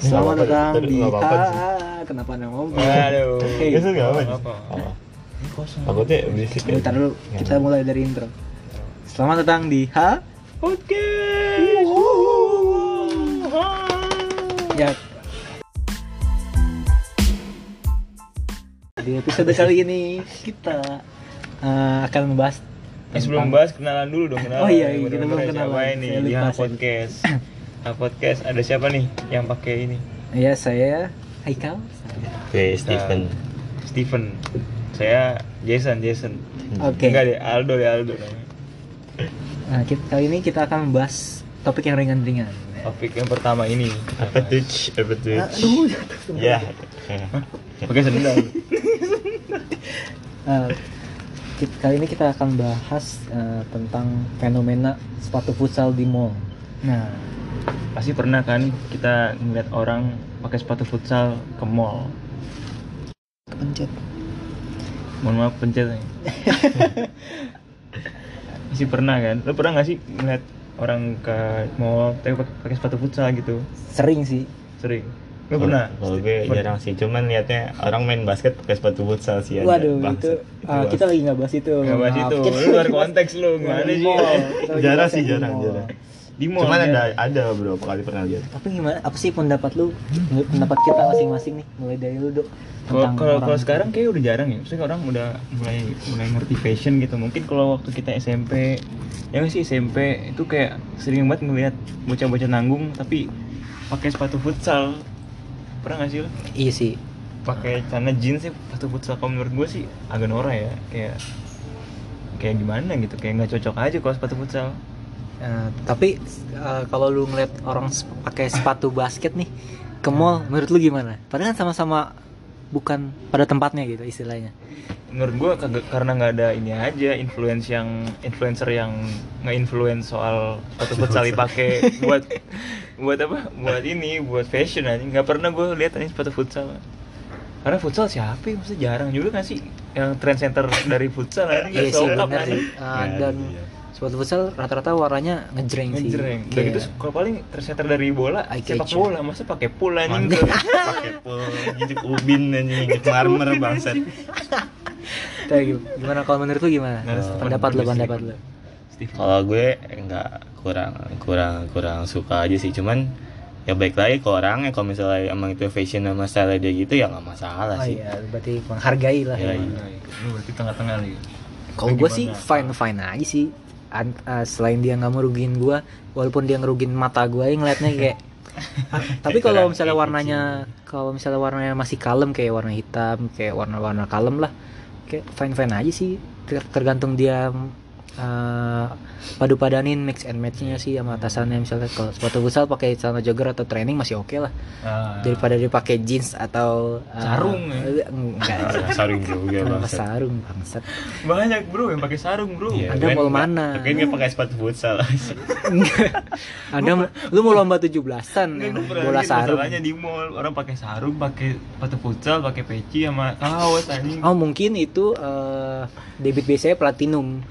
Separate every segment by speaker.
Speaker 1: Selamat
Speaker 2: apa-apa,
Speaker 1: datang
Speaker 2: tadi
Speaker 1: di
Speaker 2: nggak apa-apa sih.
Speaker 1: Ah, kenapa anda ngomong?
Speaker 3: Waduh.
Speaker 1: Hey,
Speaker 2: Itu nggak apa-apa. Oh.
Speaker 3: Iya, apa-apa.
Speaker 2: Apa?
Speaker 3: Ini kosong.
Speaker 2: Takutnya berisik ya.
Speaker 1: bentar dulu,
Speaker 2: Nggak
Speaker 1: kita
Speaker 2: apa-apa.
Speaker 1: mulai dari intro. Selamat datang di H.
Speaker 3: Podcast.
Speaker 1: Ya. Di episode kali ini kita eh, akan membahas
Speaker 3: Eh, sebelum bahas kenalan dulu dong kenalan.
Speaker 1: Oh iya, iya, kita belum
Speaker 3: Bener-bener siapa
Speaker 1: kenalan.
Speaker 3: ini?
Speaker 1: Saya
Speaker 3: Di
Speaker 1: lupa,
Speaker 3: Hang
Speaker 1: saya
Speaker 3: podcast. Hang podcast ada siapa nih yang pakai ini?
Speaker 1: Ya saya Haikal.
Speaker 2: Oke, Steven.
Speaker 3: Steven. Saya Jason, Jason.
Speaker 1: Oke.
Speaker 3: Enggak deh, Aldo deh, Aldo namanya.
Speaker 1: Nah, kita, kali ini kita akan membahas topik yang ringan-ringan.
Speaker 3: Topik yang pertama ini.
Speaker 2: Apa tuh? Apa tuh?
Speaker 1: Aduh, jatuh semua.
Speaker 2: Ya.
Speaker 3: Pakai sendal.
Speaker 1: Eh, kit- kali ini kita akan bahas eh, tentang fenomena sepatu futsal di mall. Nah,
Speaker 3: Pasti pernah kan kita ngeliat orang pakai sepatu futsal ke mall.
Speaker 1: kepencet.
Speaker 3: Mohon maaf pencet nih. Masih pernah kan? Lo pernah gak sih ngeliat orang ke mall tapi pak- pakai sepatu futsal gitu?
Speaker 1: Sering sih.
Speaker 3: Sering. Lo pernah?
Speaker 2: Kalau Oh, gue
Speaker 3: Pernah.
Speaker 2: jarang sih, cuman liatnya orang main basket pakai sepatu futsal
Speaker 3: Iya,
Speaker 2: sih. ada.
Speaker 1: Waduh, itu,
Speaker 2: Bangsat.
Speaker 1: ah,
Speaker 2: Itu
Speaker 1: kita lagi nggak bahas itu.
Speaker 3: Nggak bahas
Speaker 1: Maaf.
Speaker 3: itu.
Speaker 1: Kita
Speaker 3: Lu
Speaker 1: lagi
Speaker 3: luar
Speaker 1: bahas-
Speaker 3: konteks lu.
Speaker 1: Nggak
Speaker 3: Gimana
Speaker 1: di
Speaker 3: sih?
Speaker 1: mall. Kita lagi
Speaker 2: Jarang
Speaker 1: bahas
Speaker 2: sih,
Speaker 1: yang di
Speaker 2: jarang,
Speaker 1: mall.
Speaker 2: jarang.
Speaker 3: Di mall.
Speaker 2: Cuman
Speaker 3: ya?
Speaker 2: ada ada beberapa kali pernah lihat.
Speaker 1: Tapi gimana? Apa sih pendapat lu? Menurut Pendapat kita masing-masing nih, mulai dari lu dok.
Speaker 3: Kalau
Speaker 1: Tentang
Speaker 3: kalau- kalau
Speaker 1: orang- gitu.
Speaker 3: sekarang kayak udah jarang ya. Maksudnya orang udah mulai mulai ngerti fashion gitu. Mungkin kalau waktu kita SMP, ya nggak sih SMP itu kayak sering banget ngeliat bocah-bocah nanggung tapi pakai sepatu futsal. Pernah nggak sih lo?
Speaker 1: Iya sih.
Speaker 3: Pakai celana jeans sih sepatu futsal kalau menurut gue sih agak norak ya. Kayak kayak gimana gitu. Kayak nggak cocok aja kalau sepatu futsal.
Speaker 1: Eh, tapi eh, kalau lu ngeliat orang sep- pakai sepatu basket nih ke mall, menurut lu gimana? Padahal kan sama-sama bukan pada tempatnya gitu istilahnya.
Speaker 3: menurut gue karena nggak ada ini aja influence yang influencer yang nge-influence soal sepatu futsal dipakai buat buat apa buat ini buat fashion aja nggak pernah gue lihat anjing sepatu futsal karena futsal siapa ya? Maksudnya jarang juga nggak sih yang trend center dari futsal aja nggak
Speaker 1: Iya sih
Speaker 3: sokap
Speaker 1: benar
Speaker 3: anjing.
Speaker 1: sih. Eh,
Speaker 2: Ya,
Speaker 1: dan
Speaker 2: iya.
Speaker 1: sepatu futsal rata-rata warnanya ngejreng sih. Iya.
Speaker 3: Ngejreng. Udah
Speaker 1: Kayak-
Speaker 3: gitu kalau paling trend center dari bola
Speaker 1: Eye
Speaker 3: sepak
Speaker 1: catcher.
Speaker 3: bola masa pakai pool anjing
Speaker 2: Mantap. Pakai pul, ngintip ubin anjing, ngintip marmer bangsat.
Speaker 1: Kayak gitu. Gimana kalau menurut lu gimana?
Speaker 3: Nah, sepatu
Speaker 1: pendapat lu,
Speaker 3: basket.
Speaker 1: pendapat lu.
Speaker 3: Steve
Speaker 2: Kalau gue nggak kurang kurang kurang suka aja sih, cuman ya baik lagi ke orang ya kalau misalnya emang itu fashion sama style dia gitu ya nggak masalah
Speaker 1: Oh
Speaker 2: sih.
Speaker 1: iya, berarti menghargai lah.
Speaker 2: Iya,
Speaker 1: ya.
Speaker 2: iya.
Speaker 3: lu berarti tengah-tengah nih
Speaker 1: Kalau gue
Speaker 3: Gimana?
Speaker 1: sih fine fine aja sih. An- eh, selain dia nggak merugiin gue, walaupun dia ngerugin mata gue, ngeliatnya kayak. Ah, tapi kalau
Speaker 2: Kurang
Speaker 1: misalnya
Speaker 2: kayak
Speaker 1: warnanya, kalau misalnya warnanya masih kalem kayak warna hitam, kayak warna-warna kalem lah, kayak fine fine aja sih. Ter- tergantung dia eh, padu-padanin mix and matchnya sih sama atasannya misalnya kalau sepatu futsal pakai celana jogger atau training masih oke lah
Speaker 3: Ah.
Speaker 1: daripada dia pakai jeans atau eh,
Speaker 3: Sarung, ya?
Speaker 1: eh, enggak
Speaker 2: Saring juga
Speaker 1: Kenapa
Speaker 2: bangsat.
Speaker 1: sarung bangsat?
Speaker 3: banyak bro yang pakai sarung bro
Speaker 2: Iya,
Speaker 1: Anda
Speaker 2: gue
Speaker 1: mau
Speaker 2: nggak-
Speaker 1: mana?
Speaker 2: Tapi kan nggak pakai sepatu futsal.
Speaker 1: Anda mau- lu mau lomba 17-an
Speaker 3: Nggak,
Speaker 1: yang
Speaker 3: lu pernah
Speaker 1: bola
Speaker 3: lihat
Speaker 1: sarung.
Speaker 3: masalahnya di mall orang pakai sarung pakai sepatu futsal pakai peci sama kaos anjing
Speaker 1: Oh mungkin itu eh, debit biasanya platinum.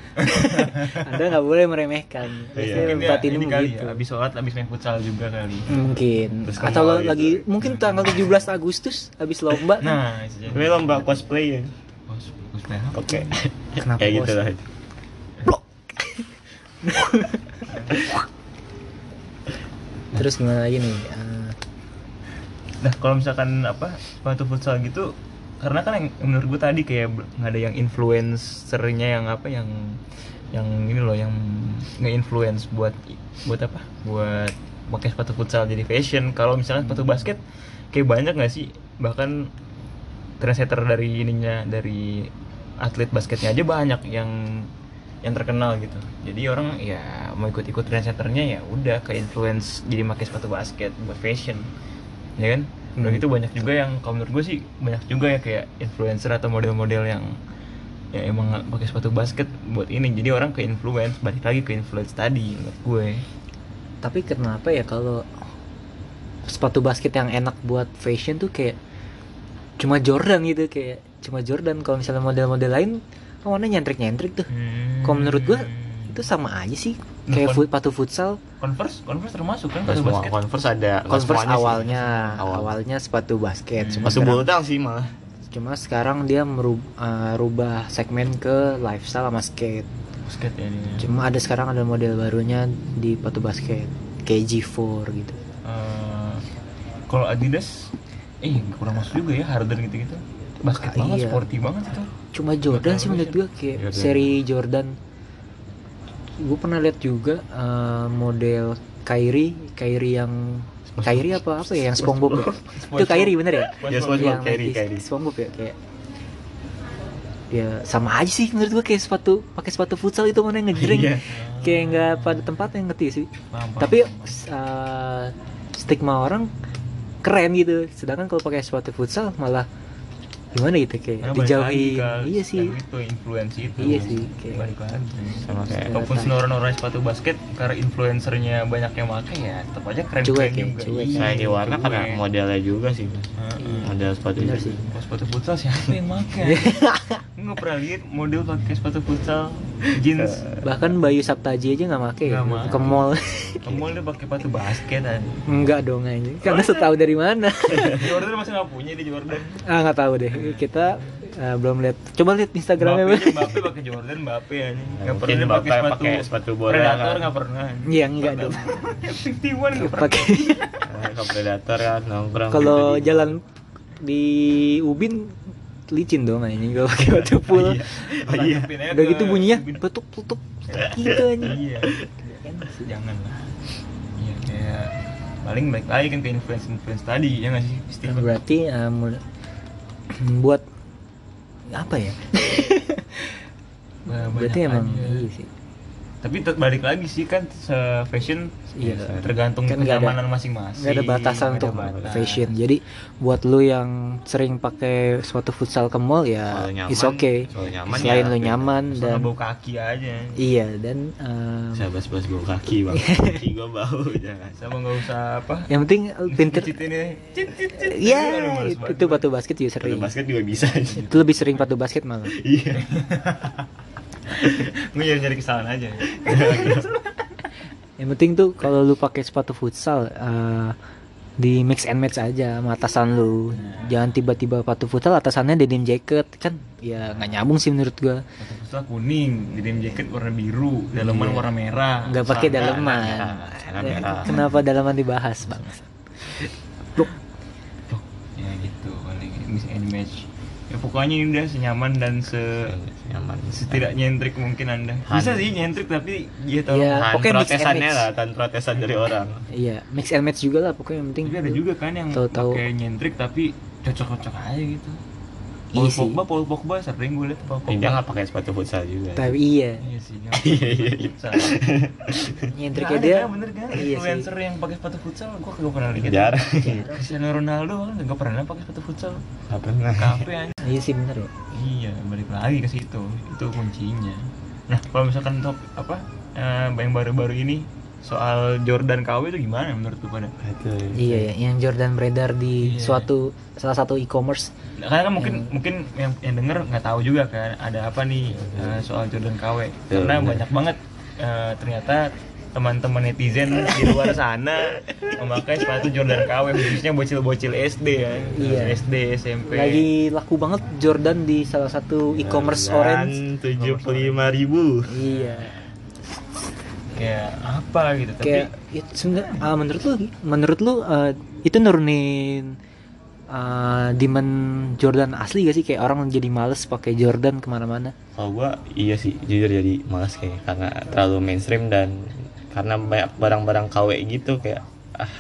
Speaker 1: Anda nggak boleh meremehkan. Biasanya
Speaker 2: Iya,
Speaker 3: Mungkin dia
Speaker 1: platinum
Speaker 3: ini kali
Speaker 1: gitu. Hmm.
Speaker 3: ya, habis sholat habis main futsal juga kali
Speaker 1: Mungkin.
Speaker 2: Terus
Speaker 1: Atau
Speaker 2: kenal
Speaker 1: lo
Speaker 2: gitu.
Speaker 1: lagi mungkin tanggal 17 Agustus habis lomba.
Speaker 3: nah itu
Speaker 2: Tapi
Speaker 3: jadi
Speaker 2: lomba cosplay ya.
Speaker 3: bos bos merah
Speaker 2: Oke.
Speaker 1: Kenapa
Speaker 2: Kayak gitu
Speaker 1: bos?
Speaker 2: lah.
Speaker 1: Terus gimana lagi nih? Eh,
Speaker 3: nah kalau misalkan apa sepatu futsal gitu karena kan yang menurut gue tadi kayak bel- nggak ada yang influencernya yang apa yang yang ini loh yang nge-influence buat buat apa buat pakai sepatu futsal jadi fashion kalau misalkan sepatu basket kayak banyak nggak sih bahkan trendsetter dari ininya dari atlet basketnya aja banyak yang yang terkenal gitu jadi orang ya mau ikut-ikut trendsetternya ya udah ke influence jadi pakai sepatu basket buat fashion ya kan udah gitu banyak juga yang kalau menurut gue sih banyak juga ya kayak influencer atau model-model yang ya emang nggak pakai sepatu basket buat ini jadi orang ke influence balik lagi ke influence tadi menurut gue
Speaker 1: tapi kenapa ya kalau sepatu basket yang enak buat fashion tuh kayak cuma Jordan gitu kayak kan cuma Jordan kalau misalnya model-model lain warnanya nyentrik-nyentrik tuh Kalau menurut gua, itu itu sama aja sih
Speaker 3: Nah,
Speaker 1: kayak
Speaker 3: kon-
Speaker 1: fut, sepatu futsal
Speaker 3: Converse Converse termasuk kan
Speaker 2: Nggak
Speaker 3: sepatu
Speaker 2: semua
Speaker 3: basket
Speaker 2: Converse ada nggak
Speaker 1: Converse
Speaker 2: semuanya sih.
Speaker 1: awalnya
Speaker 2: Awal.
Speaker 1: awalnya sepatu basket
Speaker 3: Hmm.
Speaker 1: cuma
Speaker 2: masuk
Speaker 1: sekarang,
Speaker 2: bulutang sih malah
Speaker 1: cuma sekarang dia merubah rubah segmen ke lifestyle sama skate
Speaker 3: basket ya ini
Speaker 1: cuma ada sekarang ada model barunya di sepatu basket kayak G4 gitu
Speaker 3: Eh, kalau Adidas eh kurang masuk juga ya Harden gitu-gitu basket
Speaker 1: Ah,
Speaker 3: banget
Speaker 1: iya.
Speaker 3: sporty banget itu
Speaker 1: cuma Jordan
Speaker 3: Bakal
Speaker 1: sih menurut gue kayak
Speaker 2: Jordan.
Speaker 1: seri Jordan gue pernah lihat juga eh, model Kyrie Kyrie yang Kyrie apa apa ya yang SpongeBob ya? itu Kyrie bener ya
Speaker 2: Ya,
Speaker 3: SpongeBob.
Speaker 2: SpongeBob,
Speaker 1: yang
Speaker 2: Kyrie,
Speaker 1: Nike
Speaker 2: Kyrie.
Speaker 1: SpongeBob ya kayak ya sama aja sih menurut gue kayak sepatu pakai sepatu futsal itu mana yang ngejreng
Speaker 2: Iya.
Speaker 1: kayak nggak pada tempatnya ngerti sih
Speaker 3: Paham, paham,
Speaker 1: tapi
Speaker 3: paham.
Speaker 1: eh, stigma orang keren gitu sedangkan kalau pakai sepatu futsal malah gimana gitu
Speaker 3: Karena
Speaker 1: kayak
Speaker 3: balik lagi
Speaker 1: dijauhi
Speaker 3: ke
Speaker 1: iya sih
Speaker 3: yang itu influence itu
Speaker 1: Iya sih, kayak-
Speaker 3: balik lagi
Speaker 2: sama kayak
Speaker 3: walaupun senoran-noran sepatu basket karena influencernya banyak yang pakai ya tetap aja keren
Speaker 1: Cuek
Speaker 3: keren
Speaker 1: ya,
Speaker 3: juga
Speaker 1: cuek.
Speaker 3: Iya,
Speaker 2: saya di warna
Speaker 3: cuek.
Speaker 2: karena modelnya juga sih
Speaker 3: Heeh.
Speaker 2: model sepatu
Speaker 1: kan bener
Speaker 2: juga.
Speaker 1: sih
Speaker 3: Kalau sepatu futsal siapa yang pakai? Gue nggak pernah lihat model pakai sepatu futsal jeans.
Speaker 1: bahkan Bayu Saptaji aja nggak make gitu.
Speaker 3: Nggak make.
Speaker 1: ke mall
Speaker 3: Kemul dia pakai sepatu basket aja.
Speaker 1: nggak dong aja karena setahu dari mana
Speaker 3: Jordan masih nggak punya di Jordan.
Speaker 1: ah nggak tahu deh kita eh, belum lihat coba lihat Instagramnya
Speaker 3: Mbappe,
Speaker 1: Bang.
Speaker 3: aja, Mbappe pakai Jordan, Mbappe aja. Nggak
Speaker 2: mungkin
Speaker 3: pernah dia pakai
Speaker 2: Mbappe
Speaker 3: sepatu,
Speaker 2: pakai sepatu bola,
Speaker 3: Predator
Speaker 2: kan.
Speaker 3: nggak pernah.
Speaker 1: Iya, nggak dong.
Speaker 3: Sixty one nggak pernah.
Speaker 1: pakai
Speaker 2: Nah, ke predator kan nongkrong
Speaker 1: kalau
Speaker 2: gitu di-
Speaker 1: jalan di Ubin licin dong anjing kalau pakai batu pul
Speaker 2: Iya. Oh, iya
Speaker 3: Tanggepin aja
Speaker 1: udah
Speaker 3: ke-
Speaker 1: gitu bunyinya
Speaker 3: Ubin.
Speaker 1: petuk petuk gitu anjing kan?
Speaker 3: Iya. Jangan lah. Iya kayak paling baik lagi kan ke influence influence tadi ya nggak sih Steve?
Speaker 1: berarti eh, mul- buat apa ya
Speaker 3: Banyak
Speaker 1: berarti emang
Speaker 3: aja.
Speaker 1: iya sih
Speaker 3: tapi tet- balik lagi sih kan se fashion
Speaker 1: Iya.
Speaker 3: tergantung
Speaker 1: Kan nggak ada-
Speaker 3: kenyamanan masing-masing
Speaker 1: nggak ada batasan
Speaker 3: nggak ada
Speaker 1: untuk
Speaker 3: batas.
Speaker 1: fashion jadi buat lu yang sering pakai suatu futsal ke mall ya
Speaker 2: Kalau Eh, nyaman-
Speaker 1: it's okay
Speaker 2: kalau nyaman
Speaker 1: selain
Speaker 2: ya,
Speaker 1: lu
Speaker 2: bebas.
Speaker 1: nyaman
Speaker 3: Asal
Speaker 1: dan
Speaker 3: nggak bau kaki aja
Speaker 1: iya dan um,
Speaker 2: saya bas-bas bau kaki bang kaki gue bau ya. jangan
Speaker 3: sama nggak usah apa
Speaker 1: yang penting lu pinter
Speaker 3: Cicit ini cit, cit, cit.
Speaker 1: iya
Speaker 3: Aduh, males
Speaker 1: itu,
Speaker 3: banget.
Speaker 1: itu batu basket juga
Speaker 2: Sepatu
Speaker 1: sering
Speaker 2: basket juga bisa aja
Speaker 1: itu lebih sering batu basket malah
Speaker 2: iya
Speaker 3: gue ya, nyari nyari kesalahan aja
Speaker 1: yang penting tuh kalau lu pakai sepatu futsal eh, di mix and match aja sama atasan lu jangan tiba-tiba sepatu futsal atasannya denim jacket kan ya nggak nyambung sih menurut gua
Speaker 3: Sepatu futsal kuning denim jacket warna biru dalaman
Speaker 1: Iya.
Speaker 3: warna merah
Speaker 1: nggak pakai
Speaker 2: Celana,
Speaker 1: dalaman
Speaker 2: celana, celana merah.
Speaker 1: kenapa dalaman dibahas bang
Speaker 3: Tuh, ya gitu paling miss and match ya pokoknya ini udah senyaman dan
Speaker 1: Iya,
Speaker 3: se
Speaker 2: nyaman
Speaker 3: setidak nyentrik mungkin anda bisa sih nyentrik tapi ya tolong
Speaker 1: Iya.
Speaker 2: Tahan
Speaker 1: Pokoknya mix and
Speaker 2: protesannya
Speaker 1: mix.
Speaker 2: lah tahan protesan dari orang
Speaker 1: iya mix and match juga lah pokoknya yang penting
Speaker 3: Tapi ada juga kan yang
Speaker 1: Tahu-tahu.
Speaker 3: pakai nyentrik tapi cocok-cocok aja gitu.
Speaker 1: Iya
Speaker 3: Paul
Speaker 1: sih.
Speaker 3: Pogba, Paul Pogba sering gue liat Paul
Speaker 2: dia
Speaker 3: Pogba.
Speaker 2: nggak pakai sepatu futsal juga
Speaker 1: Iya. tapi iya
Speaker 3: Iya sih.
Speaker 2: Iya, iya, iya.
Speaker 1: nyentriknya dia
Speaker 3: bener kan?
Speaker 1: iya sih Iya
Speaker 3: Influencer yang pakai sepatu futsal gue kagak pernah lihat.
Speaker 2: jarang
Speaker 3: Cristiano Ronaldo kan nggak pernah pakai sepatu futsal.
Speaker 2: nggak pernah
Speaker 3: Kafe aja.
Speaker 1: iya sih bener ya
Speaker 3: Iya, balik lagi ke situ. Itu kuncinya. Nah, kalau misalkan top apa eh, yang baru-baru ini soal Jordan KW itu gimana menurut lu pada?
Speaker 2: Itu.
Speaker 1: iya ya, yang Jordan beredar di
Speaker 3: Iya.
Speaker 1: suatu salah satu e-commerce
Speaker 3: Nah, karena kan mungkin
Speaker 1: Iya.
Speaker 3: mungkin yang yang denger nggak tahu juga kan ada apa nih eh, soal Jordan
Speaker 1: Iya,
Speaker 3: KW
Speaker 2: Betul,
Speaker 3: karena
Speaker 2: benar.
Speaker 3: banyak banget eh, ternyata teman-teman netizen di luar sana memakai sepatu Jordan KW khususnya bocil-bocil SD ya
Speaker 1: Iya.
Speaker 3: SD SMP
Speaker 1: lagi laku banget Jordan di salah satu e-commerce orange
Speaker 2: tujuh puluh lima ribu
Speaker 1: Iya.
Speaker 3: kayak apa gitu tapi
Speaker 1: Kayak ya, sebenarnya ah, menurut lu menurut lu eh, itu nurunin eh, demand Jordan asli gak sih kayak orang jadi males pakai Jordan kemana-mana
Speaker 2: kalau gua iya sih jujur jadi malas kayaknya karena terlalu mainstream dan karena banyak barang-barang KW gitu kayak ah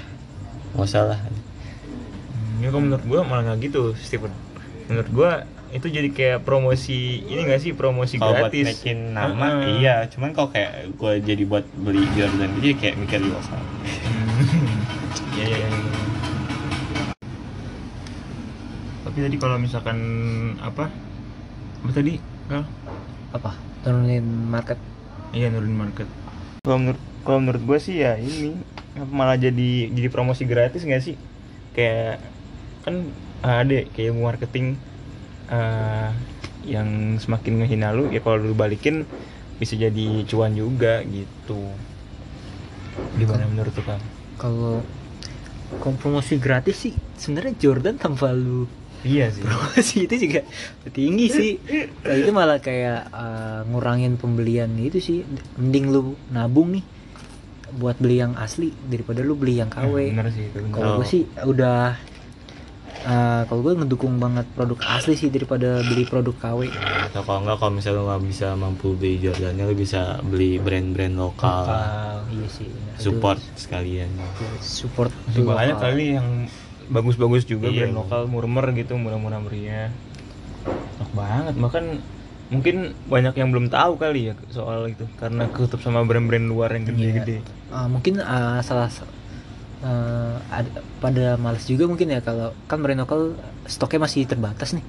Speaker 2: nggak usah lah
Speaker 3: Hmm, ya kalau menurut gua malah nggak gitu Steven menurut gua itu jadi kayak promosi ini nggak sih promosi
Speaker 2: kalau buat
Speaker 3: gratis
Speaker 2: naikin nama
Speaker 3: Heeh.
Speaker 2: iya cuman kalau kayak gua jadi buat beli Jordan jadi kayak mikir di WhatsApp Iya,
Speaker 3: ya, ya, ya. Tapi tadi kalau misalkan apa? Apa tadi? Kal?
Speaker 1: apa nurunin market
Speaker 3: Iya nurunin market. Kalau menurut kalau menurut gue sih ya ini apa, malah jadi jadi promosi gratis nggak sih? Kayak kan ada kayak ilmu ah, marketing eh, yang semakin ngehina lu ya kalau lu balikin bisa jadi cuan juga gitu gimana menurut lu kang
Speaker 1: kalau kompromosi gratis sih sebenarnya Jordan tanpa lu
Speaker 3: iya sih
Speaker 1: promosi itu juga tinggi sih Kalau itu malah kayak eh, ngurangin pembelian itu sih mending lu nabung nih buat beli yang asli daripada lu beli yang KW
Speaker 3: Hmm, bener Oh. sih itu bener.
Speaker 1: kalau gue sih udah eh, kalau gue ngedukung banget produk asli sih daripada beli produk KW
Speaker 2: atau kalau enggak kalau misalnya lu nggak bisa mampu beli Jordannya lu bisa beli brand-brand lokal
Speaker 3: Lokal.
Speaker 1: iya sih benar. Itu
Speaker 2: support sekalian
Speaker 1: support
Speaker 3: Masih banyak
Speaker 1: lokal.
Speaker 3: kali yang bagus-bagus juga
Speaker 2: Iya.
Speaker 3: brand lokal murmer gitu murah-murah meriah enak banget bahkan mungkin banyak yang belum tahu kali ya soal itu karena ketutup sama brand-brand luar yang gede-gede
Speaker 1: Eh, mungkin eh, salah sa- eh, ada- pada males juga mungkin ya kalau kan brand lokal stoknya masih terbatas nih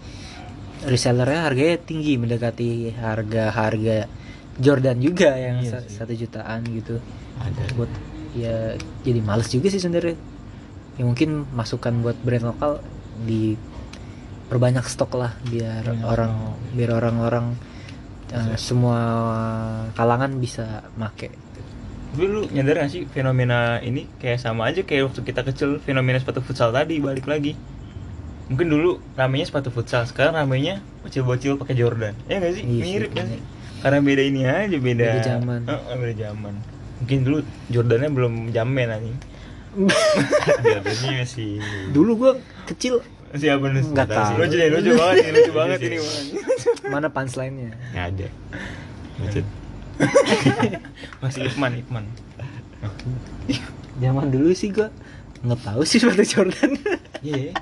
Speaker 1: resellernya harganya tinggi mendekati harga-harga Jordan juga yang
Speaker 3: Iya
Speaker 1: sa-
Speaker 3: sih.
Speaker 1: satu jutaan gitu
Speaker 2: ada
Speaker 1: buat ya jadi males juga sih sebenarnya ya mungkin masukan buat brand lokal di perbanyak stok lah biar
Speaker 3: Banyak
Speaker 1: orang
Speaker 3: stok.
Speaker 1: biar orang-orang eh,
Speaker 3: Iya.
Speaker 1: semua kalangan bisa make
Speaker 3: tapi lu nyadar gak sih fenomena ini kayak sama aja kayak waktu kita kecil fenomena sepatu futsal tadi balik lagi mungkin dulu ramenya sepatu futsal sekarang ramenya bocil-bocil pakai Jordan ya gak sih
Speaker 1: Iya sih,
Speaker 3: mirip
Speaker 1: bener.
Speaker 3: gak sih karena beda ini aja beda
Speaker 1: Beda zaman.
Speaker 3: Heeh, beda zaman mungkin dulu Jordannya belum jamen anjing
Speaker 2: Jordannya ya masih
Speaker 1: dulu gua kecil
Speaker 3: siapa nih
Speaker 1: Nggak tahu.
Speaker 3: lucu deh lucu banget ini lucu banget ini Bang.
Speaker 1: mana punchline-nya
Speaker 2: nggak ada Maksud,
Speaker 3: masih Ikman Ikman
Speaker 1: zaman dulu sih gua nggak tahu sih sepatu Jordan
Speaker 3: iya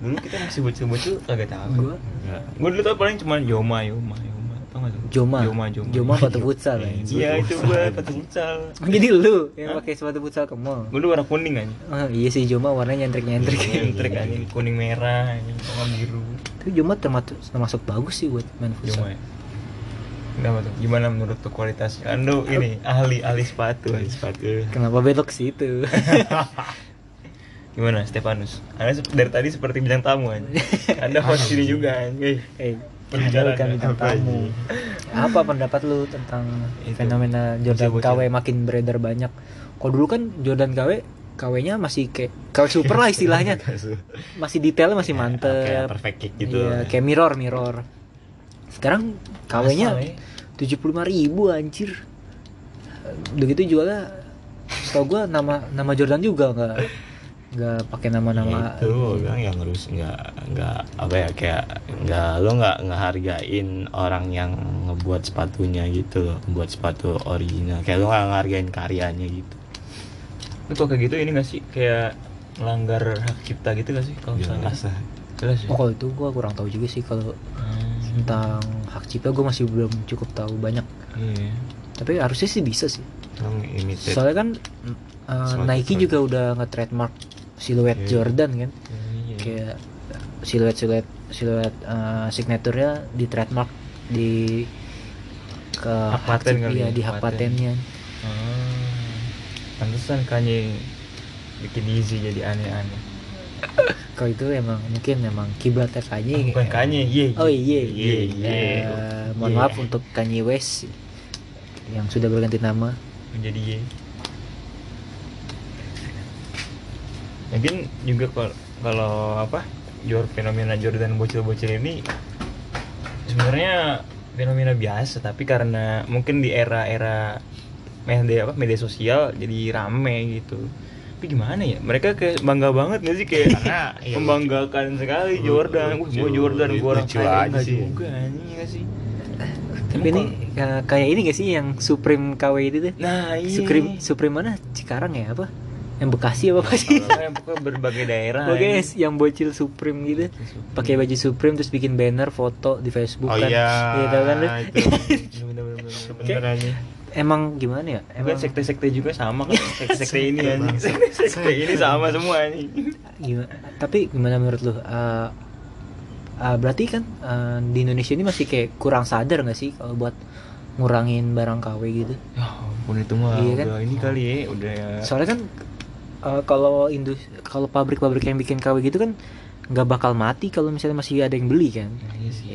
Speaker 3: dulu kita masih bocil-bocil kagak tahu
Speaker 1: gua
Speaker 2: nggak
Speaker 3: gue dulu tau paling cuma Yoma Yoma Yoma tau gak tuh
Speaker 1: Joma
Speaker 3: Yoma Yoma
Speaker 1: Joma sepatu futsal ya.
Speaker 3: Iya itu gue sepatu futsal.
Speaker 1: jadi lu yang
Speaker 3: Hah?
Speaker 1: pakai sepatu futsal ke mall
Speaker 3: Gue dulu warna kuning aja.
Speaker 1: Ah, iya sih Joma warnanya
Speaker 3: Iya.
Speaker 1: nyentrik-nyentrik
Speaker 3: Trik anjing kuning merah, anjing sama biru.
Speaker 1: Tapi Joma termasuk, termasuk bagus sih buat main
Speaker 3: Cuma
Speaker 1: futsal.
Speaker 3: ya. Kenapa tuh? Gimana menurut tuh kualitas? Ando ini ahli ahli sepatu.
Speaker 2: tuh sepatu
Speaker 1: Kenapa belok ke situ?
Speaker 3: Gimana Stefanus? Anda se- dari tadi seperti bintang tamu aja. Anda host ini juga anjing.
Speaker 1: eh,
Speaker 3: Perbicaraan
Speaker 1: bukan
Speaker 2: kan?
Speaker 1: bintang
Speaker 3: apa
Speaker 1: tamu. Apa pendapat lu tentang
Speaker 3: Itu.
Speaker 1: fenomena Jordan
Speaker 3: Bocil-bocil.
Speaker 1: KW makin beredar banyak? Kalau dulu kan Jordan KW KW-nya masih kayak KW super lah istilahnya. Masih detailnya masih
Speaker 2: Ya, kayak
Speaker 1: mantep.
Speaker 2: perfect kick gitu
Speaker 1: Iya, kayak mirror mirror. Sekarang
Speaker 2: eh?
Speaker 1: KW-nya tujuh ribu anjir. Udah gitu jualnya, setahu gua nama nama Jordan juga nggak nggak pakai nama-nama
Speaker 2: itu orang yang harus "Ya, nggak nggak apa ya kayak nggak lo nggak nggak hargain orang yang ngebuat sepatunya gitu loh ngebuat sepatu original kayak lo nggak ngehargain karyanya gitu
Speaker 3: Lu kok kayak gitu ini gak sih kayak melanggar hak cipta gitu gak sih kalau
Speaker 1: Iya.
Speaker 3: misalnya?
Speaker 2: jelas lah
Speaker 3: Jelas ya.
Speaker 2: Iya.
Speaker 1: Oh kalau itu gue kurang tahu juga sih kalau
Speaker 3: Hmm,
Speaker 1: tentang hak cipta gue masih belum cukup tahu banyak.
Speaker 3: Iya.
Speaker 1: Tapi harusnya sih bisa sih.
Speaker 2: lo imitate
Speaker 1: Soalnya kan mm, uh,
Speaker 2: Soalnya
Speaker 1: Nike
Speaker 2: kan-
Speaker 1: juga udah nge-trademark siluet
Speaker 2: Iya.
Speaker 1: Jordan kan.
Speaker 3: Iya.
Speaker 1: Kayak eh, siluet-siluet siluet uh, signaturnya di trademark di ke
Speaker 3: Hak paten
Speaker 1: cipta-
Speaker 3: kali
Speaker 1: iya,
Speaker 3: ya,
Speaker 1: di hak
Speaker 3: paten.
Speaker 1: patennya.
Speaker 3: Ah, pantesan Kanye bikin Yeezy jadi aneh-aneh.
Speaker 1: Kalau itu emang mungkin emang kiblatnya Kanye.
Speaker 3: Bukan Kanye, Iya. ye.
Speaker 1: Iya. Oh iya.
Speaker 2: Ye, ye.
Speaker 1: Eh, mohon
Speaker 2: Ye.
Speaker 1: maaf untuk Kanye West yang sudah berganti nama.
Speaker 3: Menjadi ye. Mungkin juga kal- kalau apa? Jor fenomena Jordan bocil-bocil ini sebenarnya fenomena biasa tapi karena mungkin di era-era media apa media sosial jadi rame gitu tapi gimana ya mereka kayak bangga banget gak sih kayak
Speaker 2: Karena, iya,
Speaker 3: membanggakan sekali
Speaker 2: Lu-
Speaker 3: Jordan
Speaker 2: lucu,
Speaker 3: gue mau Jordan gue orang
Speaker 2: lucu
Speaker 3: kaya
Speaker 2: aja
Speaker 3: enggak
Speaker 2: sih.
Speaker 3: juga anjing ya sih
Speaker 1: Tapi ini eh, kayak ini gak sih yang Supreme KW itu tuh?
Speaker 3: nah iya
Speaker 1: Supreme Supreme mana? Cikarang ya apa? Yang Bekasi apa apa sih?
Speaker 3: Kalau yang pokoknya berbagai daerah
Speaker 1: Oke,
Speaker 3: anjing.
Speaker 1: guys, yang bocil Supreme gitu. Pakai baju Supreme terus bikin banner foto di Facebook
Speaker 2: oh
Speaker 1: kan.
Speaker 2: iya
Speaker 1: Iya, tahu kan lu?
Speaker 2: itu
Speaker 3: Bener, bener, bener, bener.
Speaker 2: bener aja
Speaker 1: Emang gimana ya?
Speaker 3: Emang
Speaker 1: Emang
Speaker 3: kan sekte-sekte juga sama kan sekte-sekte ini anjing sekte-sekte ini sama semua anjing
Speaker 1: gimana? Tapi gimana menurut lu? Eh, eh, berarti kan eh, di Indonesia ini masih kayak kurang sadar nggak sih kalau buat ngurangin barang KW gitu?
Speaker 3: Ya ampun itu mah
Speaker 1: Iya kan?
Speaker 3: udah ini kali ya udah ya.
Speaker 1: soalnya kan eh, kalau indus kalau pabrik-pabrik yang bikin KW gitu kan nggak bakal mati kalau misalnya masih ada yang beli kan
Speaker 2: Oh,
Speaker 3: Nah, iya sih.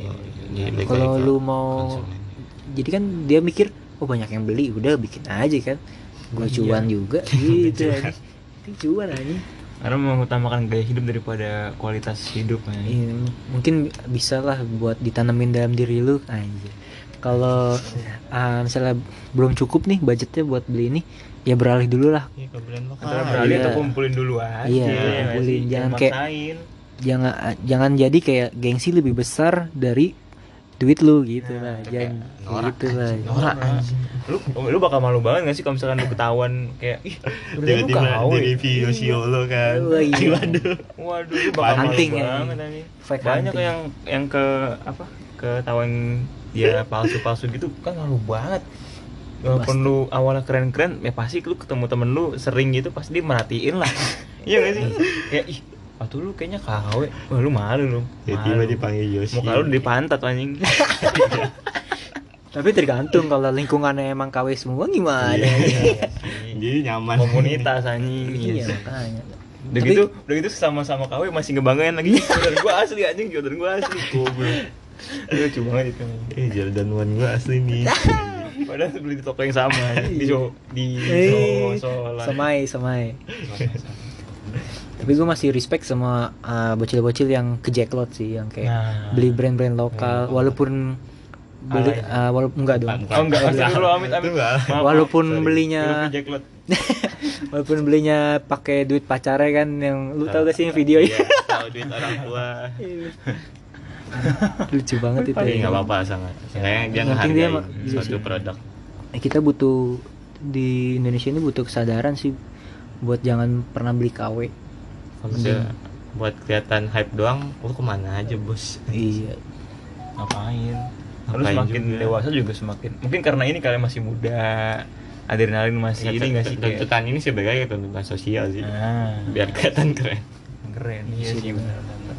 Speaker 2: Iya, balik lagi
Speaker 1: kalau
Speaker 2: ke
Speaker 1: lu mau
Speaker 2: konsumen.
Speaker 1: jadi kan dia mikir oh banyak yang beli udah bikin aja kan gue
Speaker 2: Iya.
Speaker 1: cuan juga gitu aja cuan aja
Speaker 3: Karena mengutamakan gaya hidup daripada kualitas hidup
Speaker 1: Iya,
Speaker 3: anjing.
Speaker 1: mungkin bisa lah buat ditanemin dalam diri lu anjir kalau ah, misalnya belum cukup nih budgetnya buat beli ini ya beralih dulu lah
Speaker 2: Iya ke brand lokal.
Speaker 3: Antara beralih
Speaker 1: iya.
Speaker 3: atau kumpulin dulu aja.
Speaker 1: Iya,
Speaker 3: ya nggak
Speaker 1: kumpulin.
Speaker 3: sih?
Speaker 1: Jangan kayak-
Speaker 3: maksain.
Speaker 1: jangan eh, jangan jadi kayak gengsi lebih besar dari duit lu gitu
Speaker 3: Nah,
Speaker 1: lah jangan
Speaker 2: itu kayak norak
Speaker 1: gitu lah
Speaker 2: anjing, norak anjing.
Speaker 3: Lu lu bakal malu banget gak sih kalau misalkan lu ketahuan kayak ih, berarti lu kan
Speaker 2: Tiba-tiba
Speaker 3: gawe.
Speaker 2: jadi video lo kan.
Speaker 1: Iya, iya.
Speaker 2: Aduh, Waduh.
Speaker 3: Waduh, lu bakal
Speaker 1: Hunting,
Speaker 3: malu
Speaker 1: ya.
Speaker 3: banget anjing.
Speaker 1: Fake
Speaker 3: Banyak
Speaker 1: hunting.
Speaker 3: yang yang ke apa? Ketahuan dia palsu-palsu gitu kan malu banget. Walaupun lu awalnya keren-keren, ya pasti lu ketemu temen lu sering gitu pasti dia merhatiin lah. iya gak sih? Kayak ih, waktu lu kayaknya KW. Wah, lu malu lu.
Speaker 2: Tiba-tiba
Speaker 3: Malu.
Speaker 2: dipanggil Iya. Yoshi.
Speaker 3: Muka lu di pantat anjing.
Speaker 1: tapi tergantung kalau lingkungannya emang KW semua gimana
Speaker 2: Iya. Jadi nyaman.
Speaker 3: Komunitas anjing.
Speaker 1: iya
Speaker 3: Yes.
Speaker 1: makanya
Speaker 3: Udah
Speaker 1: Tapi- Iya.
Speaker 3: gitu, udah gitu sama-sama KW masih ngebanggain lagi. Jodoh gua asli anjing, jodoh gua asli. Goblok. Lucu banget itu. anjing.
Speaker 2: Eh, Jordan One gua asli nih.
Speaker 3: Padahal beli di toko yang sama di Jo di
Speaker 1: Eh,
Speaker 3: Sosolan.
Speaker 1: semai semai tapi gue masih respect sama uh, bocil-bocil yang ke jacklot sih yang kayak
Speaker 3: Nah.
Speaker 1: beli brand-brand lokal
Speaker 2: Iya.
Speaker 1: walaupun beli
Speaker 3: Alay.
Speaker 1: uh, walaupun enggak dong
Speaker 2: Bukan.
Speaker 3: Oh enggak, maksudnya lu amit amit.
Speaker 2: Itu enggak.
Speaker 3: Maaf,
Speaker 1: walaupun
Speaker 2: sorry.
Speaker 1: belinya
Speaker 3: Jack Lot.
Speaker 1: walaupun belinya pakai duit pacarnya kan yang lu tau gak sih yang video ya
Speaker 2: Iya, tahu duit orang tua.
Speaker 1: Oh, lucu banget itu
Speaker 2: Tapi
Speaker 1: ya.
Speaker 2: enggak Iya. apa-apa sangat. Seenggaknya dia
Speaker 1: Yang penting dia
Speaker 2: ngehargain
Speaker 1: ma- iya
Speaker 2: suatu
Speaker 1: sih.
Speaker 2: produk.
Speaker 1: Eh, kita butuh di Indonesia ini butuh kesadaran sih buat jangan pernah beli KW
Speaker 2: Kalau saya buat kelihatan hype doang, lu kemana aja bos?
Speaker 1: iya
Speaker 3: Ngapain? Terus
Speaker 2: Ngapain
Speaker 3: semakin
Speaker 2: juga.
Speaker 3: dewasa juga semakin. Mungkin karena ini kalian masih muda, adrenalin masih ini enggak sih kayak.
Speaker 2: tuntutan ini sebagai tuntutan sosial sih.
Speaker 3: Ah,
Speaker 2: Biar kelihatan keren.
Speaker 3: keren.
Speaker 1: Iya
Speaker 3: Iya
Speaker 1: sih,
Speaker 3: sih benar benar.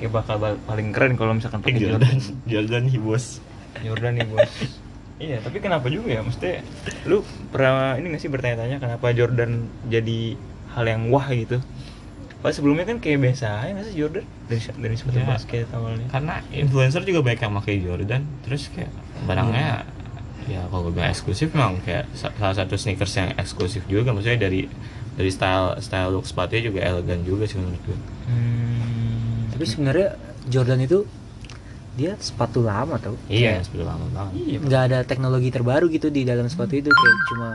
Speaker 3: Kayak bakal bal- paling keren kalau misalkan
Speaker 2: Eh,
Speaker 3: pakai
Speaker 2: Jordan,
Speaker 3: Jordan.
Speaker 2: Jordan hi bos.
Speaker 3: Jordan nih, Bos. Iya, tapi kenapa juga ya? Maksudnya lu pernah ini gak sih bertanya-tanya kenapa Jordan jadi hal yang wah gitu? Pas sebelumnya kan kayak biasa aja nggak sih Jordan dari dari sepatu
Speaker 2: Iya.
Speaker 3: basket awalnya.
Speaker 2: Karena influencer juga banyak yang pakai Jordan, terus kayak barangnya ya kalau gue bilang eksklusif memang kayak sa- salah satu sneakers yang eksklusif juga maksudnya dari dari style style look sepatunya juga elegan juga sih menurut gue.
Speaker 3: Hmm.
Speaker 1: tapi sebenarnya Jordan itu dia sepatu lama tau
Speaker 2: Iya, sebelum lama banget.
Speaker 3: iya.
Speaker 1: nggak ada teknologi terbaru gitu di dalam sepatu itu kayak cuma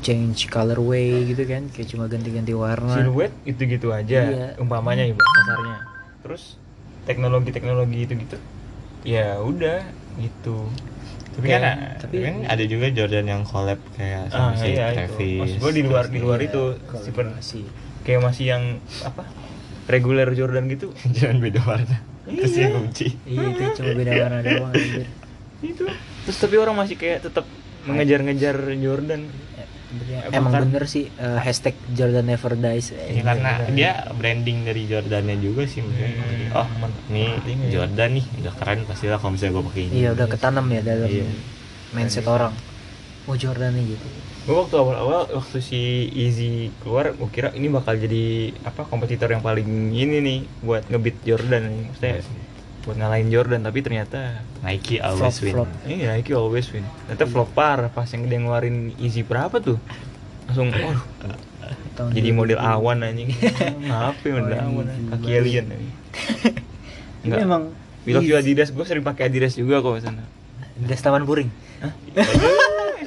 Speaker 1: change colorway gitu kan kayak cuma ganti-ganti warna
Speaker 3: Siluet gitu-gitu aja
Speaker 1: Iya.
Speaker 3: umpamanya ya, Bos, kasarnya. Terus teknologi-teknologi itu-gitu ya udah gitu.
Speaker 2: Tapi
Speaker 3: Kayak-
Speaker 2: kan, tapi,
Speaker 1: tapi-
Speaker 2: kan ada juga Jordan yang collab kayak sama
Speaker 3: Ah,
Speaker 2: si
Speaker 3: iya, itu.
Speaker 2: Travis.
Speaker 3: Maksud gue di luar di luar
Speaker 1: Iya,
Speaker 3: itu
Speaker 1: kolaborasi.
Speaker 3: sih kayak masih yang apa reguler Jordan gitu
Speaker 2: Jangan beda warna. Terus yang kunci.
Speaker 1: iya itu cuma beda warna doang anjir
Speaker 3: itu terus tapi orang masih kayak tetap mengejar-ngejar Jordan
Speaker 1: emang
Speaker 3: Bahkan-
Speaker 1: bener sih eh, hashtag Jordan never dies
Speaker 2: Ya,
Speaker 3: Iya kan?
Speaker 2: karena dia branding dari Jordannya juga sih maksudnya. Oh,
Speaker 3: Hmm.
Speaker 2: nih Jordan nih udah keren pastilah kalau misalnya gue pakai ini.
Speaker 1: iya udah ketanam ya dalam
Speaker 2: Iya.
Speaker 1: mindset orang oh Jordan nih gitu
Speaker 3: gue waktu awal-awal waktu si Easy keluar gue kira ini bakal jadi apa kompetitor yang paling ini nih buat ngebeat Jordan nih maksudnya buat ngalahin Jordan tapi ternyata
Speaker 2: Nike always
Speaker 1: Flop,
Speaker 2: win.
Speaker 1: flop.
Speaker 3: iya Nike always win ternyata flop par pas yang dia ngeluarin Easy berapa tuh langsung waduh
Speaker 1: Tahun
Speaker 3: jadi
Speaker 1: 2000.
Speaker 3: model ya. awan anjing apa ya model
Speaker 1: Oh,
Speaker 3: awan
Speaker 1: Easy.
Speaker 3: kaki alien anjing.
Speaker 1: ini
Speaker 3: Enggak.
Speaker 1: emang iya,
Speaker 3: Bila view Adidas, gue sering pakai Adidas juga kok sana.
Speaker 1: Adidas Taman Puring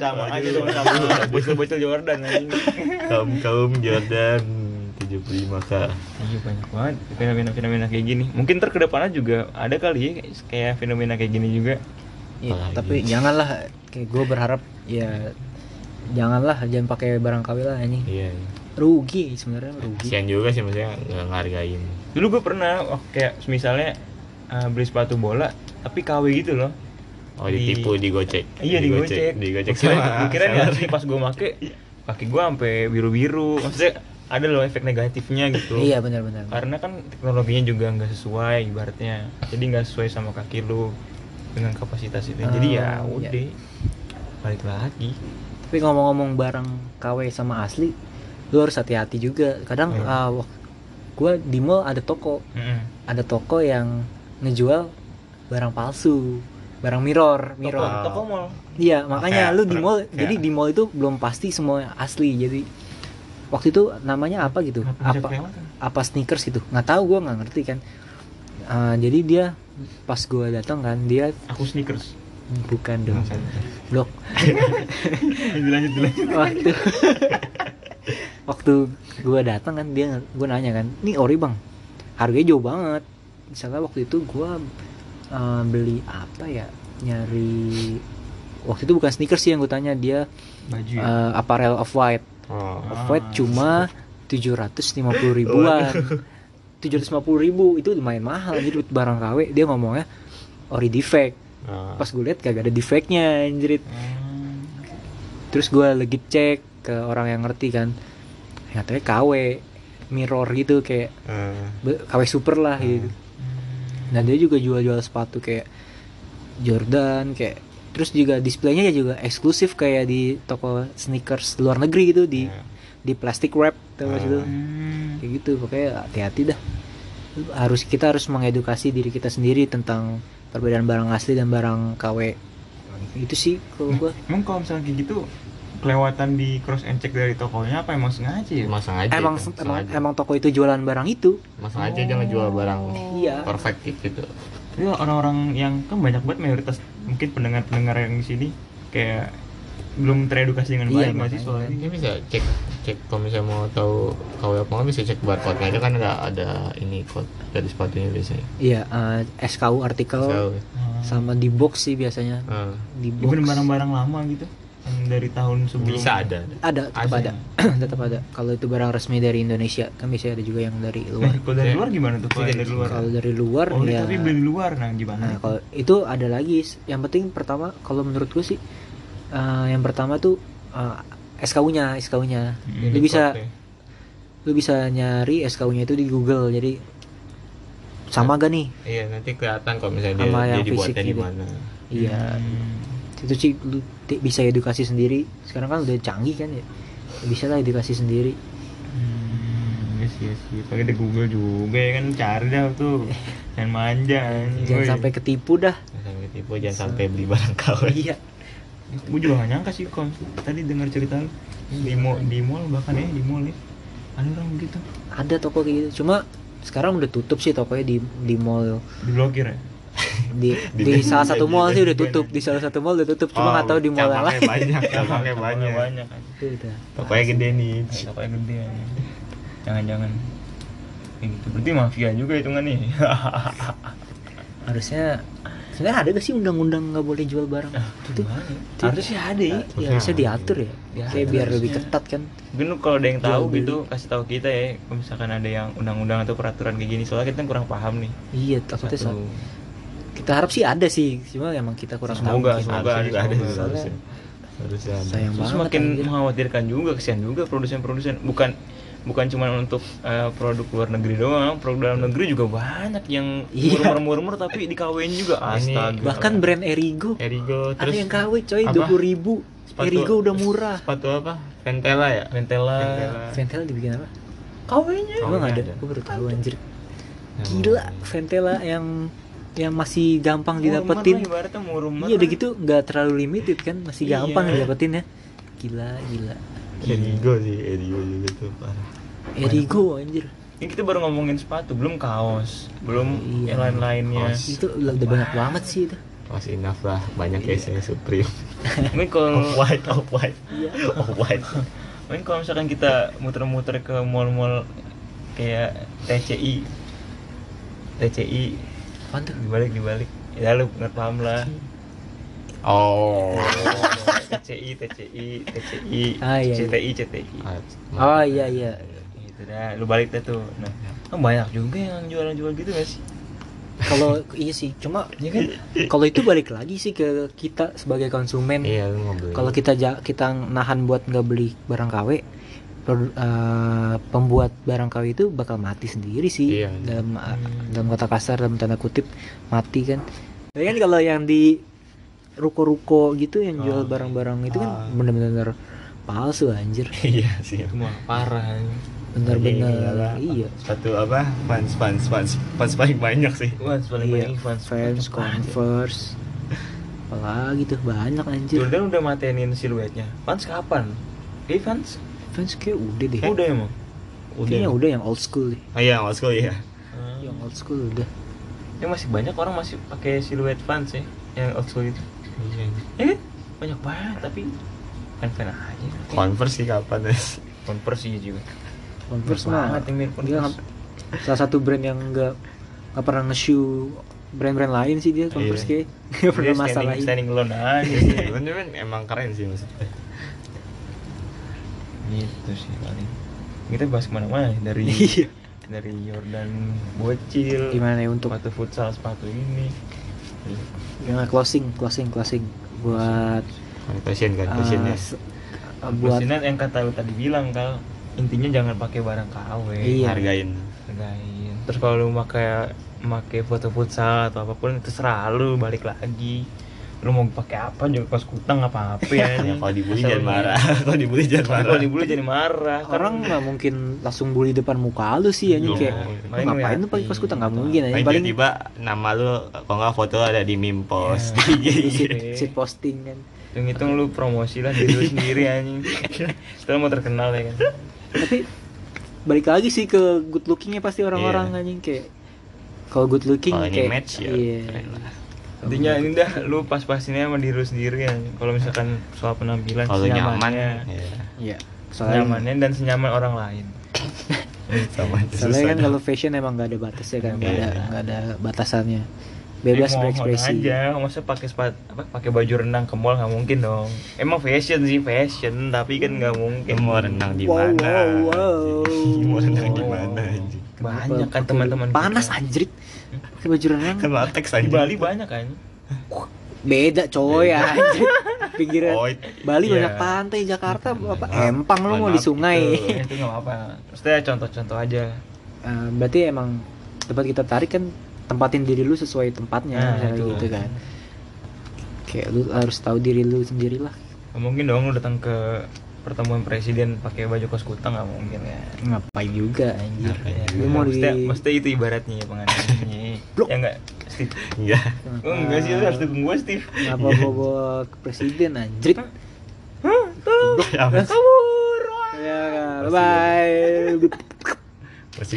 Speaker 3: sama aja dong sama bocil-bocil Jordan anjing.
Speaker 2: kaum kaum Jordan 75 k.
Speaker 3: Iya banyak banget fenomena-fenomena kayak gini. Mungkin ter kedepannya juga ada kali ya kayak fenomena kayak gini juga.
Speaker 1: Iya,
Speaker 3: Ah,
Speaker 2: Apalagi.
Speaker 1: tapi janganlah kayak gue berharap ya janganlah jangan pakai barang KW lah anjing
Speaker 2: Iya.
Speaker 1: rugi sebenarnya rugi
Speaker 2: Kasian juga sih maksudnya nggak ngargain.
Speaker 3: Dulu gue pernah wak- kayak misalnya eh, beli sepatu bola tapi KW gitu loh.
Speaker 2: Oh ditipu digocek.
Speaker 3: Iya digocek.
Speaker 2: Digocek.
Speaker 3: Gua kira-
Speaker 2: sama
Speaker 3: gua kira nih
Speaker 2: seller.
Speaker 3: asli pas gue make kaki gue sampai biru-biru. Maksudnya ada loh efek negatifnya gitu.
Speaker 1: iya benar-benar
Speaker 3: karena kan teknologinya juga nggak sesuai ibaratnya jadi nggak sesuai sama kaki lu dengan kapasitas itu jadi ya
Speaker 1: Ah,
Speaker 3: udah
Speaker 1: iya.
Speaker 3: balik lagi
Speaker 1: tapi ngomong-ngomong barang KW sama asli lu harus hati-hati juga kadang
Speaker 3: Iya.
Speaker 1: gue di mall ada toko ada toko yang ngejual barang palsu barang mirror mirror
Speaker 2: Wow.
Speaker 3: toko mall
Speaker 1: Iya, makanya
Speaker 2: Kayak
Speaker 1: lu di
Speaker 2: per-
Speaker 1: mall,
Speaker 2: kayak-
Speaker 1: jadi di mall itu belum pasti semua asli. Jadi waktu itu namanya apa gitu?
Speaker 3: Kenapa bisa
Speaker 1: Apa
Speaker 3: kelewatan?
Speaker 1: apa sneakers gitu? Nggak tahu gua nggak ngerti kan. Eh, jadi dia pas gua datang kan dia
Speaker 3: aku sneakers
Speaker 1: bukan dong blok
Speaker 3: lanjut lanjut lanjut
Speaker 1: waktu waktu gua datang kan dia gua nanya kan ini ori bang harganya jauh banget misalnya waktu itu gua eh, beli apa ya nyari waktu itu bukan sneakers sih yang gua tanya dia
Speaker 3: baju ya? Ah,
Speaker 1: eh, apparel of white
Speaker 2: oh.
Speaker 1: off white cuma 750 ribuan 750 ribu itu lumayan mahal anjir buat barang KW dia ngomongnya ori defect
Speaker 2: oh.
Speaker 1: pas gue lihat kagak ada defectnya anjir
Speaker 3: Ah. Hmm.
Speaker 1: terus gue lagi cek ke orang yang ngerti kan katanya KW mirror gitu kayak
Speaker 2: Eh,
Speaker 1: be- KW super lah
Speaker 3: Hmm.
Speaker 1: gitu dan dia juga jual-jual sepatu kayak Jordan kayak terus juga displaynya ya juga eksklusif kayak di toko sneakers luar negeri gitu di
Speaker 2: ya.
Speaker 1: di plastic wrap terus
Speaker 2: Ah.
Speaker 1: itu
Speaker 3: Hmm.
Speaker 1: kayak gitu pokoknya hati-hati dah harus kita harus mengedukasi diri kita sendiri tentang perbedaan barang asli dan barang KW itu sih kalau gua
Speaker 3: Emang kalau misalnya kayak gitu kelewatan di cross and check dari tokonya apa emang sengaja ya?
Speaker 2: emang sengaja
Speaker 1: emang
Speaker 2: itu,
Speaker 1: emang,
Speaker 2: sengaja.
Speaker 1: emang toko itu jualan barang itu
Speaker 2: Emang sengaja dia ngejual barang
Speaker 1: iya
Speaker 2: perfect gitu
Speaker 3: Tapi orang-orang yang kan banyak banget mayoritas mungkin pendengar-pendengar yang di sini kayak belum teredukasi dengan
Speaker 1: Iya,
Speaker 3: baik nggak sih
Speaker 1: makanya.
Speaker 3: soalnya.
Speaker 2: Ini bisa cek cek kalau misalnya mau tahu KW apa nggak bisa cek barcode nya aja kan ada ada ini code dari sepatunya biasanya.
Speaker 1: iya eh, SKU artikel
Speaker 2: Tahu.
Speaker 3: Iya. Hmm.
Speaker 1: sama di box sih biasanya
Speaker 2: Eh,
Speaker 1: di box
Speaker 3: Even barang-barang lama gitu yang dari tahun sebelum
Speaker 2: bisa ada. ada.
Speaker 1: ada tetap ada
Speaker 3: Ada.
Speaker 1: tetap ada kalau itu barang resmi dari Indonesia kan biasanya ada juga yang dari
Speaker 3: Nah,
Speaker 1: luar
Speaker 3: kalau dari
Speaker 2: Iya.
Speaker 3: luar gimana tuh kalau
Speaker 2: Iya,
Speaker 3: dari luar?
Speaker 1: kalau dari luar
Speaker 3: Oh,
Speaker 1: ya
Speaker 3: tapi beli di luar nah
Speaker 1: Nah,
Speaker 3: gimana?
Speaker 1: kalau itu ada lagi. Yang penting pertama kalau menurut gue sih eh, yang pertama tuh eh, SKU-nya, SKU-nya.
Speaker 3: Hmm,
Speaker 1: lu bisa
Speaker 2: Code-nya.
Speaker 1: lu bisa nyari SKU-nya itu di Google. Jadi sama gak nih?
Speaker 2: Iya nanti kelihatan kalau misalnya dia,
Speaker 1: Sama
Speaker 2: dia
Speaker 1: yang
Speaker 2: dibuatnya
Speaker 1: fisik
Speaker 2: di
Speaker 1: gitu.
Speaker 2: mana. Nah,
Speaker 1: Iya.
Speaker 3: Hmm.
Speaker 1: Itu sih lu ti- bisa edukasi sendiri. Sekarang kan udah canggih kan ya. Bisa lah edukasi sendiri.
Speaker 3: Hmm, Yes, yes, yes. Pakai di Google juga ya kan cari dah tuh. Jangan manja. anjing.
Speaker 1: Jangan
Speaker 3: Hmm, Woi.
Speaker 1: sampai ketipu dah.
Speaker 2: Jangan sampai tipu jangan sampai beli barang KW.
Speaker 1: Iya.
Speaker 3: gue juga gak nyangka sih kon tadi dengar cerita lu di mall di mall bahkan ya di mall ya ada orang begitu
Speaker 1: Ada toko kayak gitu. Cuma sekarang udah tutup sih tokonya di di mall
Speaker 3: diblokir ya
Speaker 1: di, di
Speaker 2: Di-
Speaker 1: salah satu
Speaker 2: di-
Speaker 1: mall
Speaker 2: di-
Speaker 1: sih udah
Speaker 3: di-
Speaker 1: tutup di salah satu mall udah tutup
Speaker 2: Oh,
Speaker 1: cuma nggak tahu di mall yang
Speaker 2: cabangnya
Speaker 1: lain
Speaker 2: banyak, cabangnya
Speaker 3: Tokonya
Speaker 2: banyak.
Speaker 3: banyak kan
Speaker 1: Itu udah.
Speaker 2: Tokonya gede nih.
Speaker 3: tokonya gede ya. jangan jangan Kayak gitu berarti mafia juga hitungan nih
Speaker 1: harusnya sebenarnya ada gak sih undang-undang nggak boleh jual barang itu
Speaker 3: harusnya sih Eh, ada ya
Speaker 1: ya harusnya diatur ya kayak biar lebih
Speaker 3: harusnya.
Speaker 1: ketat kan
Speaker 3: mungkin lu kalau ada yang tahu
Speaker 1: Jual beli.
Speaker 3: gitu kasih tahu kita ya kalau misalkan ada yang undang-undang atau peraturan kayak gini soalnya kita kurang paham nih
Speaker 1: iya takutnya
Speaker 3: Satu-
Speaker 1: sa- kita harap sih ada sih cuma emang kita kurang
Speaker 3: Semoga,
Speaker 1: tahu mungkin.
Speaker 3: semoga
Speaker 2: Harusnya juga ada
Speaker 3: semoga.
Speaker 2: harusnya. Harusnya ada.
Speaker 1: sayang
Speaker 3: Terus
Speaker 1: banget
Speaker 3: semakin
Speaker 1: anjir.
Speaker 3: mengkhawatirkan juga kesian juga produsen-produsen bukan bukan cuma untuk eh, produk luar negeri doang produk dalam negeri juga banyak yang
Speaker 1: Iya.
Speaker 3: murmur-murmur tapi dikawin juga
Speaker 2: Ini
Speaker 3: astaga
Speaker 1: bahkan brand Erigo
Speaker 3: Eh,
Speaker 2: Erigo
Speaker 1: ada
Speaker 2: terus
Speaker 1: yang KW coy
Speaker 2: apa?
Speaker 1: dua ribu Erigo udah murah
Speaker 2: Sepatu apa? Ventela ya?
Speaker 3: Ventela
Speaker 1: Ventela dibikin apa
Speaker 3: kawinnya
Speaker 2: Oh,
Speaker 1: emang
Speaker 2: ini
Speaker 1: ada
Speaker 2: ada.
Speaker 1: gue baru tahu anjir
Speaker 2: Yang-
Speaker 1: gila Ventela yang yang masih gampang
Speaker 3: Murmur lah,
Speaker 1: didapetin
Speaker 3: ibaratnya murmur
Speaker 1: iya udah
Speaker 3: lah.
Speaker 1: gitu nggak terlalu limited kan masih
Speaker 3: Iya.
Speaker 1: gampang didapetin ya gila gila
Speaker 2: Erigo sih, Erigo juga tuh parah.
Speaker 1: Erigo anjir
Speaker 3: ini kita baru ngomongin sepatu belum kaos belum
Speaker 1: Iya.
Speaker 3: yang lain-lainnya
Speaker 2: Kaos.
Speaker 1: itu udah udah banyak banget sih itu
Speaker 2: Mas Inaf lah, banyak case-nya Supreme.
Speaker 3: ini kalau Iya.
Speaker 2: Off white, off white. Off white.
Speaker 3: Mungkin kalau misalkan kita muter-muter ke mall-mall kayak TCI TCI
Speaker 1: Apaan tuh?
Speaker 3: dibalik dibalik ya lu nggak paham lah
Speaker 2: Oh.
Speaker 3: TCI TCI TCI
Speaker 1: Ah, iya, iya.
Speaker 3: CTI CTI
Speaker 1: oh iya iya
Speaker 3: gitu dah lu balik deh tuh nah kan banyak juga yang jualan-jualan gitu gak sih
Speaker 1: kalau iya sih cuma
Speaker 3: ya kan
Speaker 1: kalau itu balik lagi sih ke kita sebagai konsumen
Speaker 2: Iya, lu mau beli.
Speaker 1: kalau kita ja- kita nahan buat nggak beli barang KW pro- eh, pembuat barang KW itu bakal mati sendiri sih
Speaker 2: Iya.
Speaker 1: dalam eh,
Speaker 3: Hmm.
Speaker 1: dalam kata kasar dalam tanda kutip mati kan tapi kan kalau yang di ruko-ruko gitu yang jual
Speaker 2: Ah.
Speaker 1: barang-barang itu kan
Speaker 2: Ah.
Speaker 1: bener-bener palsu anjir
Speaker 2: iya sih.
Speaker 3: itu mah parah
Speaker 1: bener-bener iya
Speaker 2: Satu apa? Fans, fans, fans. Fans paling banyak sih.
Speaker 3: Wah, paling
Speaker 1: Iya,
Speaker 3: banyak ya. fans
Speaker 1: fans, Converse, apalagi tuh banyak anjir
Speaker 3: Jordan udah matenin siluetnya. Vans kapan? Eh Vans?
Speaker 1: Vans kayak udah deh
Speaker 3: Udah ya, emang.
Speaker 1: kayaknya udah yang old school deh
Speaker 2: Oh iya, old school ya.
Speaker 1: yang old school udah
Speaker 3: Ya masih banyak orang masih pakai siluet Vans ya, yang old school itu. Eh, banyak banget tapi fan fan aja.
Speaker 2: Converse sih kapan ya? Nes?
Speaker 3: Converse iya juga.
Speaker 1: Converse
Speaker 3: Mirip
Speaker 1: mah
Speaker 3: banget yang mirip
Speaker 1: dia
Speaker 3: Converse.
Speaker 1: nggak- salah satu brand yang nggak nggak pernah nge-shoe brand-brand lain sih dia Converse kayak
Speaker 2: Iya.
Speaker 1: nggak pernah
Speaker 3: Dia
Speaker 1: masalah Iya,
Speaker 3: standing, standing alone aja.
Speaker 2: Cuman cuman emang keren sih maksudnya.
Speaker 3: gitu sih paling. Kita bahas kemana-mana ya, dari
Speaker 1: Iya.
Speaker 3: dari Jordan bocil.
Speaker 1: Gimana ya untuk-
Speaker 3: sepatu futsal sepatu ini?
Speaker 1: Gimana, closing closing closing buat
Speaker 2: Confession kan, confession
Speaker 1: eh,
Speaker 2: ya.
Speaker 1: se- eh, buat
Speaker 3: Buat yang kata lu tadi bilang kal intinya jangan pakai barang KW.
Speaker 1: Iya.
Speaker 2: Hargain.
Speaker 3: hargain terus kalau lu pakai pakai foto futsal atau apapun terserah lu balik lagi lu mau pakai apa juga kos kutang apa apa ya
Speaker 2: Ya, kalau dibully
Speaker 3: Asal
Speaker 2: jangan
Speaker 3: lu-
Speaker 2: marah. Kalau dibully jangan marah.
Speaker 3: kalau
Speaker 1: ya,
Speaker 3: dibully jadi marah Kan
Speaker 1: orang nggak mungkin langsung bully depan muka lu sih anjing
Speaker 2: Nggak
Speaker 1: kayak
Speaker 2: mungkin.
Speaker 1: "Lu ngapain lu pakai kaos kutang nggak mungkin anjing
Speaker 2: Paling
Speaker 1: paling
Speaker 2: ya, iya. tiba-tiba nama lu kalau nggak foto lu ada di meme
Speaker 1: Ya.
Speaker 2: post.
Speaker 1: di
Speaker 2: Iya.
Speaker 1: seat, seat posting kan
Speaker 3: hitung hitung lu promosi lah diri lu sendiri anjing terus mau terkenal ya kan
Speaker 1: tapi balik lagi sih ke good lookingnya pasti orang-orang
Speaker 2: Iya.
Speaker 1: anjing kayak kalau good looking
Speaker 2: Kalau ini
Speaker 1: kayak
Speaker 2: match ya
Speaker 1: iya.
Speaker 2: keren lah.
Speaker 3: intinya ini dah lu pas pasinnya sama diri lu sendiri ya kalau misalkan soal penampilan
Speaker 2: Kalau nyaman
Speaker 3: senyamannya.
Speaker 2: ya.
Speaker 1: Iya. Soalnya
Speaker 3: senyamannya dan senyaman orang lain
Speaker 2: Sama aja susah
Speaker 1: Soalnya kan
Speaker 2: dong.
Speaker 1: kalau fashion emang gak ada batasnya kan, nggak ada
Speaker 2: Iya.
Speaker 1: nggak ada batasannya, bebas
Speaker 3: Eh, mohon
Speaker 1: berekspresi.
Speaker 3: aja masa pakai sepat apa pakai baju renang ke mall nggak mungkin dong emang fashion sih fashion tapi kan nggak mungkin
Speaker 2: Lu mau renang di
Speaker 1: Wow,
Speaker 2: mana?
Speaker 1: wow, wow.
Speaker 2: anjing? Mau renang di
Speaker 3: Oh.
Speaker 2: mana anjing?
Speaker 3: banyak
Speaker 1: Pakai-
Speaker 3: kan teman-teman kita.
Speaker 1: Panas anjrit. Pakai baju renang.
Speaker 2: Kan latex
Speaker 3: di
Speaker 2: anjing.
Speaker 3: Bali banyak kan
Speaker 1: Beda coy anjrit. Pinggiran.
Speaker 2: Oh, it-
Speaker 1: Bali
Speaker 3: iya.
Speaker 1: banyak pantai, Jakarta apa
Speaker 2: Ah,
Speaker 1: empang lu mau
Speaker 2: maaf,
Speaker 1: di sungai.
Speaker 2: itu.
Speaker 3: Eh, itu nggak apa-apa maksudnya contoh-contoh aja
Speaker 1: Eh, berarti emang tempat kita tarik kan tempatin diri lu sesuai tempatnya
Speaker 3: Nah,
Speaker 1: misalnya
Speaker 3: itu.
Speaker 1: gitu kan. Kayak lu harus tahu diri lu sendirilah.
Speaker 3: nggak mungkin dong lu datang ke pertemuan presiden pakai baju kos kutang nggak mungkin ya
Speaker 1: Ngapain juga anjir.
Speaker 2: Ngapain
Speaker 1: Ya,
Speaker 2: juga.
Speaker 1: Lu mau di
Speaker 3: Maksudnya, maksudnya itu ibaratnya ya pengantinnya
Speaker 1: Blok.
Speaker 3: ya nggak Steve
Speaker 2: Enggak.
Speaker 3: oh, enggak sih
Speaker 1: А,
Speaker 3: lu harus dukung gue Steve
Speaker 1: Ngapa bawa ke presiden anjrit?
Speaker 3: Hah, tuh
Speaker 2: Apa sih?
Speaker 3: kabur Wah.
Speaker 1: Ya, bye bye.
Speaker 2: Pasti